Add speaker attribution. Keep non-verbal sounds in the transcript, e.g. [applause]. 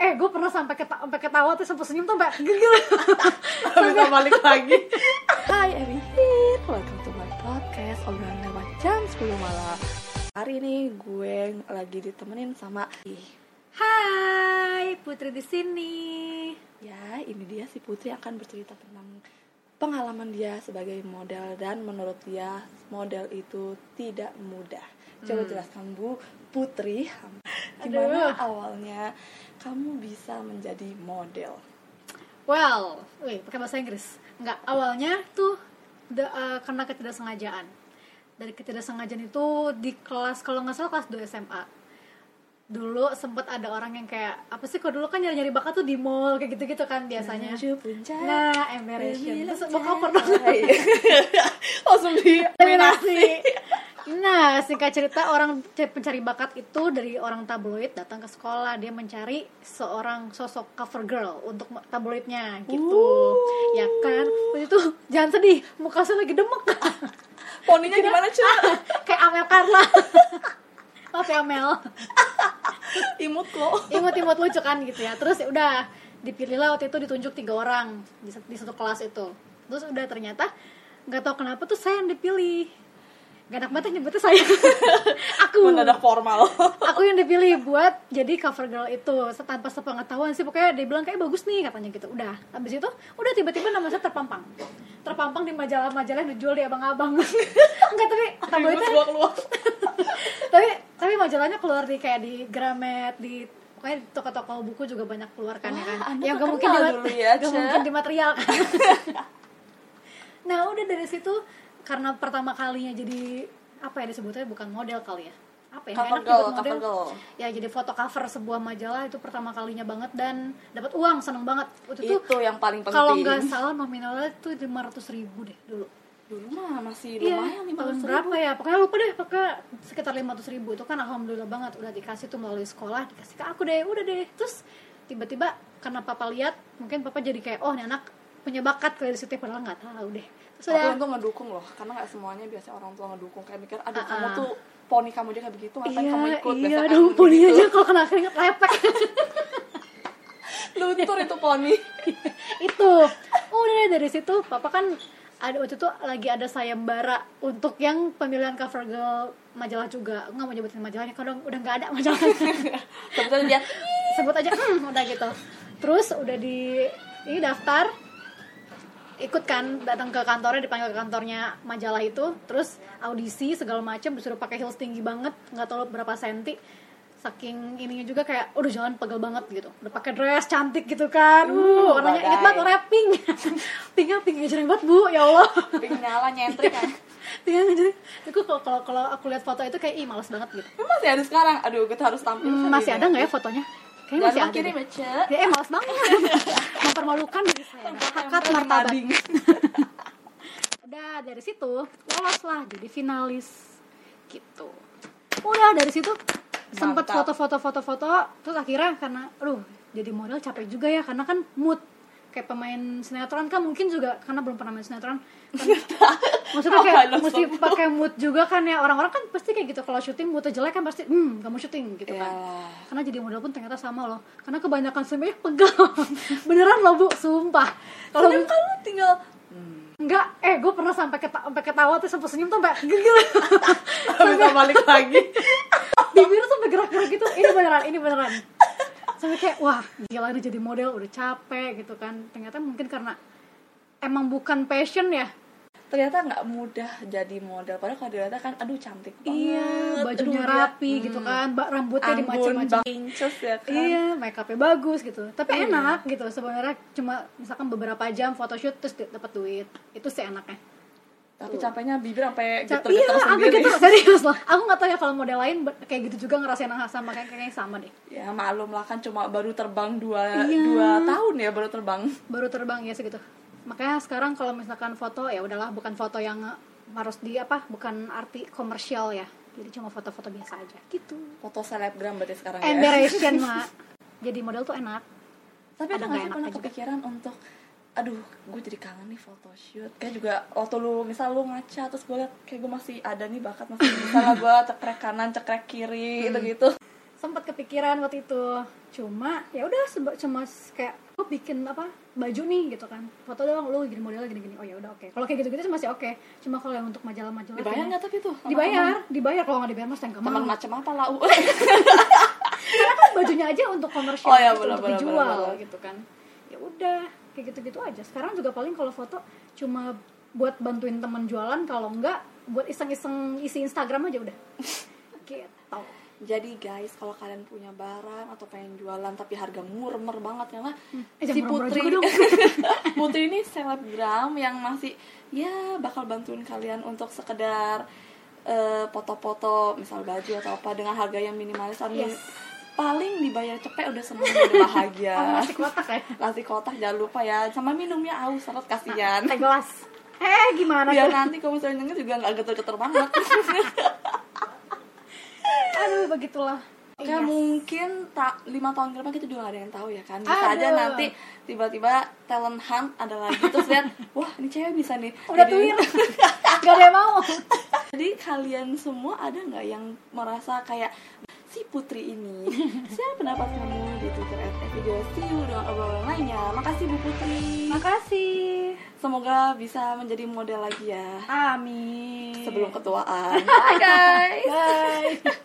Speaker 1: eh gue pernah sampai keta sampai ketawa tuh sampai senyum tuh sampai gegel
Speaker 2: Minta balik lagi
Speaker 3: Hai Emi Hit, welcome to my podcast Obrolan lewat jam 10 malam Hari ini gue lagi ditemenin sama Ih,
Speaker 1: [laughs] Hai Putri di sini
Speaker 3: Ya, ini dia si Putri akan bercerita tentang pengalaman dia sebagai model Dan menurut dia, model itu tidak mudah Coba jelaskan Bu Putri Gimana awalnya kamu bisa menjadi model?
Speaker 1: well wih pakai bahasa Inggris nggak awalnya tuh da- eh, karena ketidaksengajaan dari ketidaksengajaan itu di kelas kalau nggak salah kelas 2 SMA dulu sempet ada orang yang kayak apa sih kok dulu kan nyari-nyari bakat tuh di mall kayak gitu-gitu kan biasanya
Speaker 3: Menuju puncak
Speaker 1: nah
Speaker 2: Iya,
Speaker 1: emberation terus mau cover
Speaker 2: [laughs]
Speaker 3: Oh, iya. Langsung di
Speaker 1: Eliminasi. [laughs] Nah, singkat cerita orang c- pencari bakat itu dari orang tabloid datang ke sekolah dia mencari seorang sosok cover girl untuk ma- tabloidnya gitu. Ya kan? Waktu itu [laughs] jangan sedih, muka saya lagi demek. [laughs]
Speaker 3: Poninya
Speaker 1: Iya.
Speaker 3: gimana cuy?
Speaker 1: Kayak Amel Carla. [laughs] Maaf ya Amel.
Speaker 3: Imut lo
Speaker 1: imut-imut lucu kan gitu ya terus ya udah dipilihlah waktu itu ditunjuk tiga orang di, sat- di satu kelas itu terus udah ternyata nggak tahu kenapa tuh saya yang dipilih gak enak banget ya nyebutnya saya [laughs] aku
Speaker 2: Mendadak formal
Speaker 1: aku yang dipilih buat jadi cover girl itu Se- tanpa sepengetahuan sih pokoknya dia bilang kayak bagus nih katanya gitu udah habis itu udah tiba-tiba nama saya terpampang terpampang di majalah-majalah yang dijual di abang-abang [laughs] enggak tapi
Speaker 2: Imut
Speaker 3: gitu.
Speaker 1: tabloidnya
Speaker 2: gua keluar
Speaker 1: tapi tapi majalahnya keluar di kayak di Gramet di pokoknya di toko-toko buku juga banyak keluar kan ya kan
Speaker 3: Wah, Anda
Speaker 1: yang gak
Speaker 3: terkenal
Speaker 1: mungkin di
Speaker 3: dulu ya,
Speaker 1: gak
Speaker 3: Ce.
Speaker 1: mungkin di material kan nah udah dari situ karena pertama kalinya jadi apa ya disebutnya bukan model kali ya apa ya nggak
Speaker 2: Cover
Speaker 1: enak
Speaker 2: girl,
Speaker 1: nyebut
Speaker 2: cover girl
Speaker 1: ya jadi foto cover sebuah majalah itu pertama kalinya banget dan dapat uang seneng banget waktu itu
Speaker 2: Itu yang paling penting
Speaker 1: kalau nggak salah nominalnya tuh lima ratus ribu deh dulu
Speaker 2: Dulu mah masih
Speaker 1: Iya,
Speaker 2: lumayan 500
Speaker 1: tahun
Speaker 2: ribu
Speaker 1: berapa ya? Pokoknya lupa deh, pokoknya sekitar 500 ribu itu kan alhamdulillah banget udah dikasih tuh melalui sekolah, dikasih ke aku deh, udah deh. Terus tiba-tiba karena papa lihat, mungkin papa jadi kayak oh, ini anak punya bakat kali di situ padahal nggak tahu deh. Terus
Speaker 2: Tapi
Speaker 1: udah,
Speaker 2: untung ngedukung loh Karena gak semuanya biasanya orang tua ngedukung Kayak mikir, aduh
Speaker 1: Ah,
Speaker 2: kamu
Speaker 1: ah.
Speaker 2: tuh poni kamu aja kayak begitu Ngapain
Speaker 1: iya,
Speaker 2: kamu ikut
Speaker 1: iya,
Speaker 2: Biasa kan
Speaker 1: dong, poni
Speaker 2: gitu.
Speaker 1: aja kalau kena keringet lepek.
Speaker 2: [laughs]
Speaker 1: [laughs]
Speaker 2: Luntur itu poni
Speaker 1: itu Oh, udah deh, dari situ papa kan ada waktu itu lagi ada sayembara untuk yang pemilihan cover girl majalah juga Aku nggak mau nyebutin majalahnya kalau udah nggak ada majalahnya
Speaker 2: Kebetulan dia
Speaker 1: sebut aja "Hmm," udah gitu terus udah di ini daftar ikut kan datang ke kantornya dipanggil ke kantornya majalah itu terus audisi segala macam disuruh pakai heels tinggi banget nggak tahu berapa senti saking ininya juga kayak udah jalan pegel banget gitu udah pakai dress cantik gitu kan uh,
Speaker 2: Uh,
Speaker 1: warnanya inget
Speaker 2: badai.
Speaker 1: banget warnanya pink [laughs] pinknya pink jereng banget bu ya allah [laughs]
Speaker 2: Pengen nyala nyentrik kan
Speaker 1: pinknya jereng aku kalau kalau kalau aku lihat foto itu kayak ih males banget gitu
Speaker 2: Emang masih ada sekarang? Aduh, kita harus tampil kan
Speaker 1: Hmm, masih ada nggak ya fotonya kayaknya
Speaker 2: Jangan
Speaker 1: masih ada
Speaker 2: lupa
Speaker 1: deh.
Speaker 2: kirim ya, Ce.
Speaker 1: [laughs] Ya, eh, males banget. Mempermalukan diri saya. Hakat
Speaker 2: Tempel di
Speaker 1: martabat.
Speaker 2: mading.
Speaker 1: [laughs] Udah dari situ loloslah jadi finalis gitu. Udah dari situ sempet
Speaker 2: Mantap.
Speaker 1: foto-foto foto-foto terus akhirnya karena aduh jadi model capek juga ya karena kan mood kayak pemain sinetron kan mungkin juga karena belum pernah main sinetron kan- maksudnya
Speaker 2: Apaan
Speaker 1: kayak
Speaker 2: lo,
Speaker 1: mesti
Speaker 2: Sob?
Speaker 1: pakai mood juga kan ya orang-orang kan pasti kayak gitu kalau syuting moodnya jelek kan pasti hmm gak mau syuting
Speaker 2: Iya.
Speaker 1: gitu kan
Speaker 2: Iyalah.
Speaker 1: karena jadi model pun ternyata sama loh karena kebanyakan semuanya pegal [laughs] beneran loh bu sumpah kalau
Speaker 2: Sebenarnya kamu
Speaker 1: [laughs]
Speaker 2: tinggal
Speaker 1: enggak eh gue pernah sampai keta- sampai ketawa terus sampai senyum tuh sampai
Speaker 2: [laughs]
Speaker 1: gegel
Speaker 2: Minta balik lagi
Speaker 1: bibirnya sampai gerak-gerak gitu ini beneran ini beneran sampai kayak wah gila ini jadi model udah capek gitu kan ternyata mungkin karena emang bukan passion ya
Speaker 2: [laughs] Ternyata nggak mudah jadi model Padahal kalau dilihat kan, aduh cantik banget
Speaker 1: iya
Speaker 2: Aduh,
Speaker 1: bajunya
Speaker 2: dia mm, Hmm.
Speaker 1: rapi gitu kan ba- rambutnya
Speaker 2: Anggun,
Speaker 1: dimacem-macem
Speaker 2: bang inces ya kan Iya.
Speaker 1: Iya, make upnya bagus gitu. Tapi enak gitu sebenarnya cuma misalkan beberapa jam photoshoot terus dapat duit. Itu sih enaknya.
Speaker 2: Tapi capeknya bibir sampai
Speaker 1: Ca-
Speaker 2: geter-geter
Speaker 1: iya, sampai
Speaker 2: sendiri
Speaker 1: gitu serius loh. Aku nggak tahu ya kalau model lain be- kayak gitu juga ngerasain hal sama kayak kayaknya sama deh.
Speaker 2: Ya malum lah kan cuma baru terbang 2
Speaker 1: Iya.
Speaker 2: tahun ya baru terbang
Speaker 1: Baru terbang ya segitu. Makanya sekarang kalau misalkan foto ya udahlah bukan foto yang harus di apa? Bukan arti komersial ya. Jadi cuma foto-foto biasa aja gitu.
Speaker 2: Foto selebgram berarti sekarang ya
Speaker 1: Emberation, Mak. Jadi model tuh enak.
Speaker 2: Tapi ada nggak
Speaker 1: Ada
Speaker 2: sih
Speaker 1: nggak
Speaker 2: pernah
Speaker 1: enaknya juga?
Speaker 2: kepikiran untuk Aduh, gue jadi kangen nih photoshoot Kayak juga waktu lu, misal lu ngaca Terus gue liat, kayak gue masih ada nih bakat Masih bisa lah gue cekrek kanan, cekrek kiri, gitu-gitu
Speaker 1: sempat kepikiran waktu itu cuma ya udah sebe- cuma s- kayak lu bikin apa baju nih gitu kan foto doang lu gini modelnya gini gini oh ya udah oke kalau kayak gitu gitu masih oke cuma kalau yang untuk majalah-majalah
Speaker 2: dibayar
Speaker 1: kayaknya-
Speaker 2: nggak tapi tuh
Speaker 1: dibayar dibayar kalau nggak dibayar mas nggak
Speaker 2: teman
Speaker 1: mau
Speaker 2: macam apa lau [laughs]
Speaker 1: karena kan bajunya aja untuk komersial
Speaker 2: Oh, iya,
Speaker 1: gitu,
Speaker 2: benar,
Speaker 1: untuk
Speaker 2: benar,
Speaker 1: dijual
Speaker 2: benar, benar.
Speaker 1: gitu kan ya udah kayak gitu gitu aja sekarang juga paling kalau foto cuma buat bantuin teman jualan kalau enggak buat iseng-iseng isi Instagram aja
Speaker 2: [laughs]
Speaker 1: udah gitu
Speaker 3: Jadi guys, kalau kalian punya barang atau pengen jualan tapi harga murmer banget karena
Speaker 1: eh, jangan
Speaker 3: si
Speaker 1: murah-murah
Speaker 3: Putri
Speaker 1: juga dong.
Speaker 3: [laughs] Putri ini selebgram yang masih ya bakal bantuin kalian untuk sekedar eh, foto-foto misal baju atau apa dengan harga yang minimalis Amin.
Speaker 1: Yes.
Speaker 3: paling dibayar cepet udah seneng udah bahagia.
Speaker 1: [laughs] Sama nasi kotak ya
Speaker 3: Nasi kotak jangan lupa ya sama minumnya aus seret kasihan.
Speaker 1: kayak gelas eh gimana [laughs]
Speaker 3: Biar
Speaker 1: tuh
Speaker 3: nanti kamu misalnya denger juga nggak geter-geter banget.
Speaker 1: aduh begitulah iya.
Speaker 3: Kayak mungkin tak lima tahun ke depan kita juga gak ada yang tahu ya kan bisa aja
Speaker 1: Aduh.
Speaker 3: nanti tiba-tiba talent hunt ada lagi terus
Speaker 1: [laughs]
Speaker 3: lihat wah ini cewek bisa nih
Speaker 1: udah
Speaker 3: Jadi-
Speaker 1: tuir gak ada yang mau
Speaker 3: [laughs] jadi kalian semua ada nggak yang merasa kayak si putri
Speaker 1: [laughs]
Speaker 3: ini share pendapat kamu di twitter at video dengan obrolan lainnya makasih bu putri
Speaker 1: makasih
Speaker 3: semoga bisa menjadi model lagi ya
Speaker 1: amin
Speaker 3: sebelum ketuaan bye guys
Speaker 1: [laughs] bye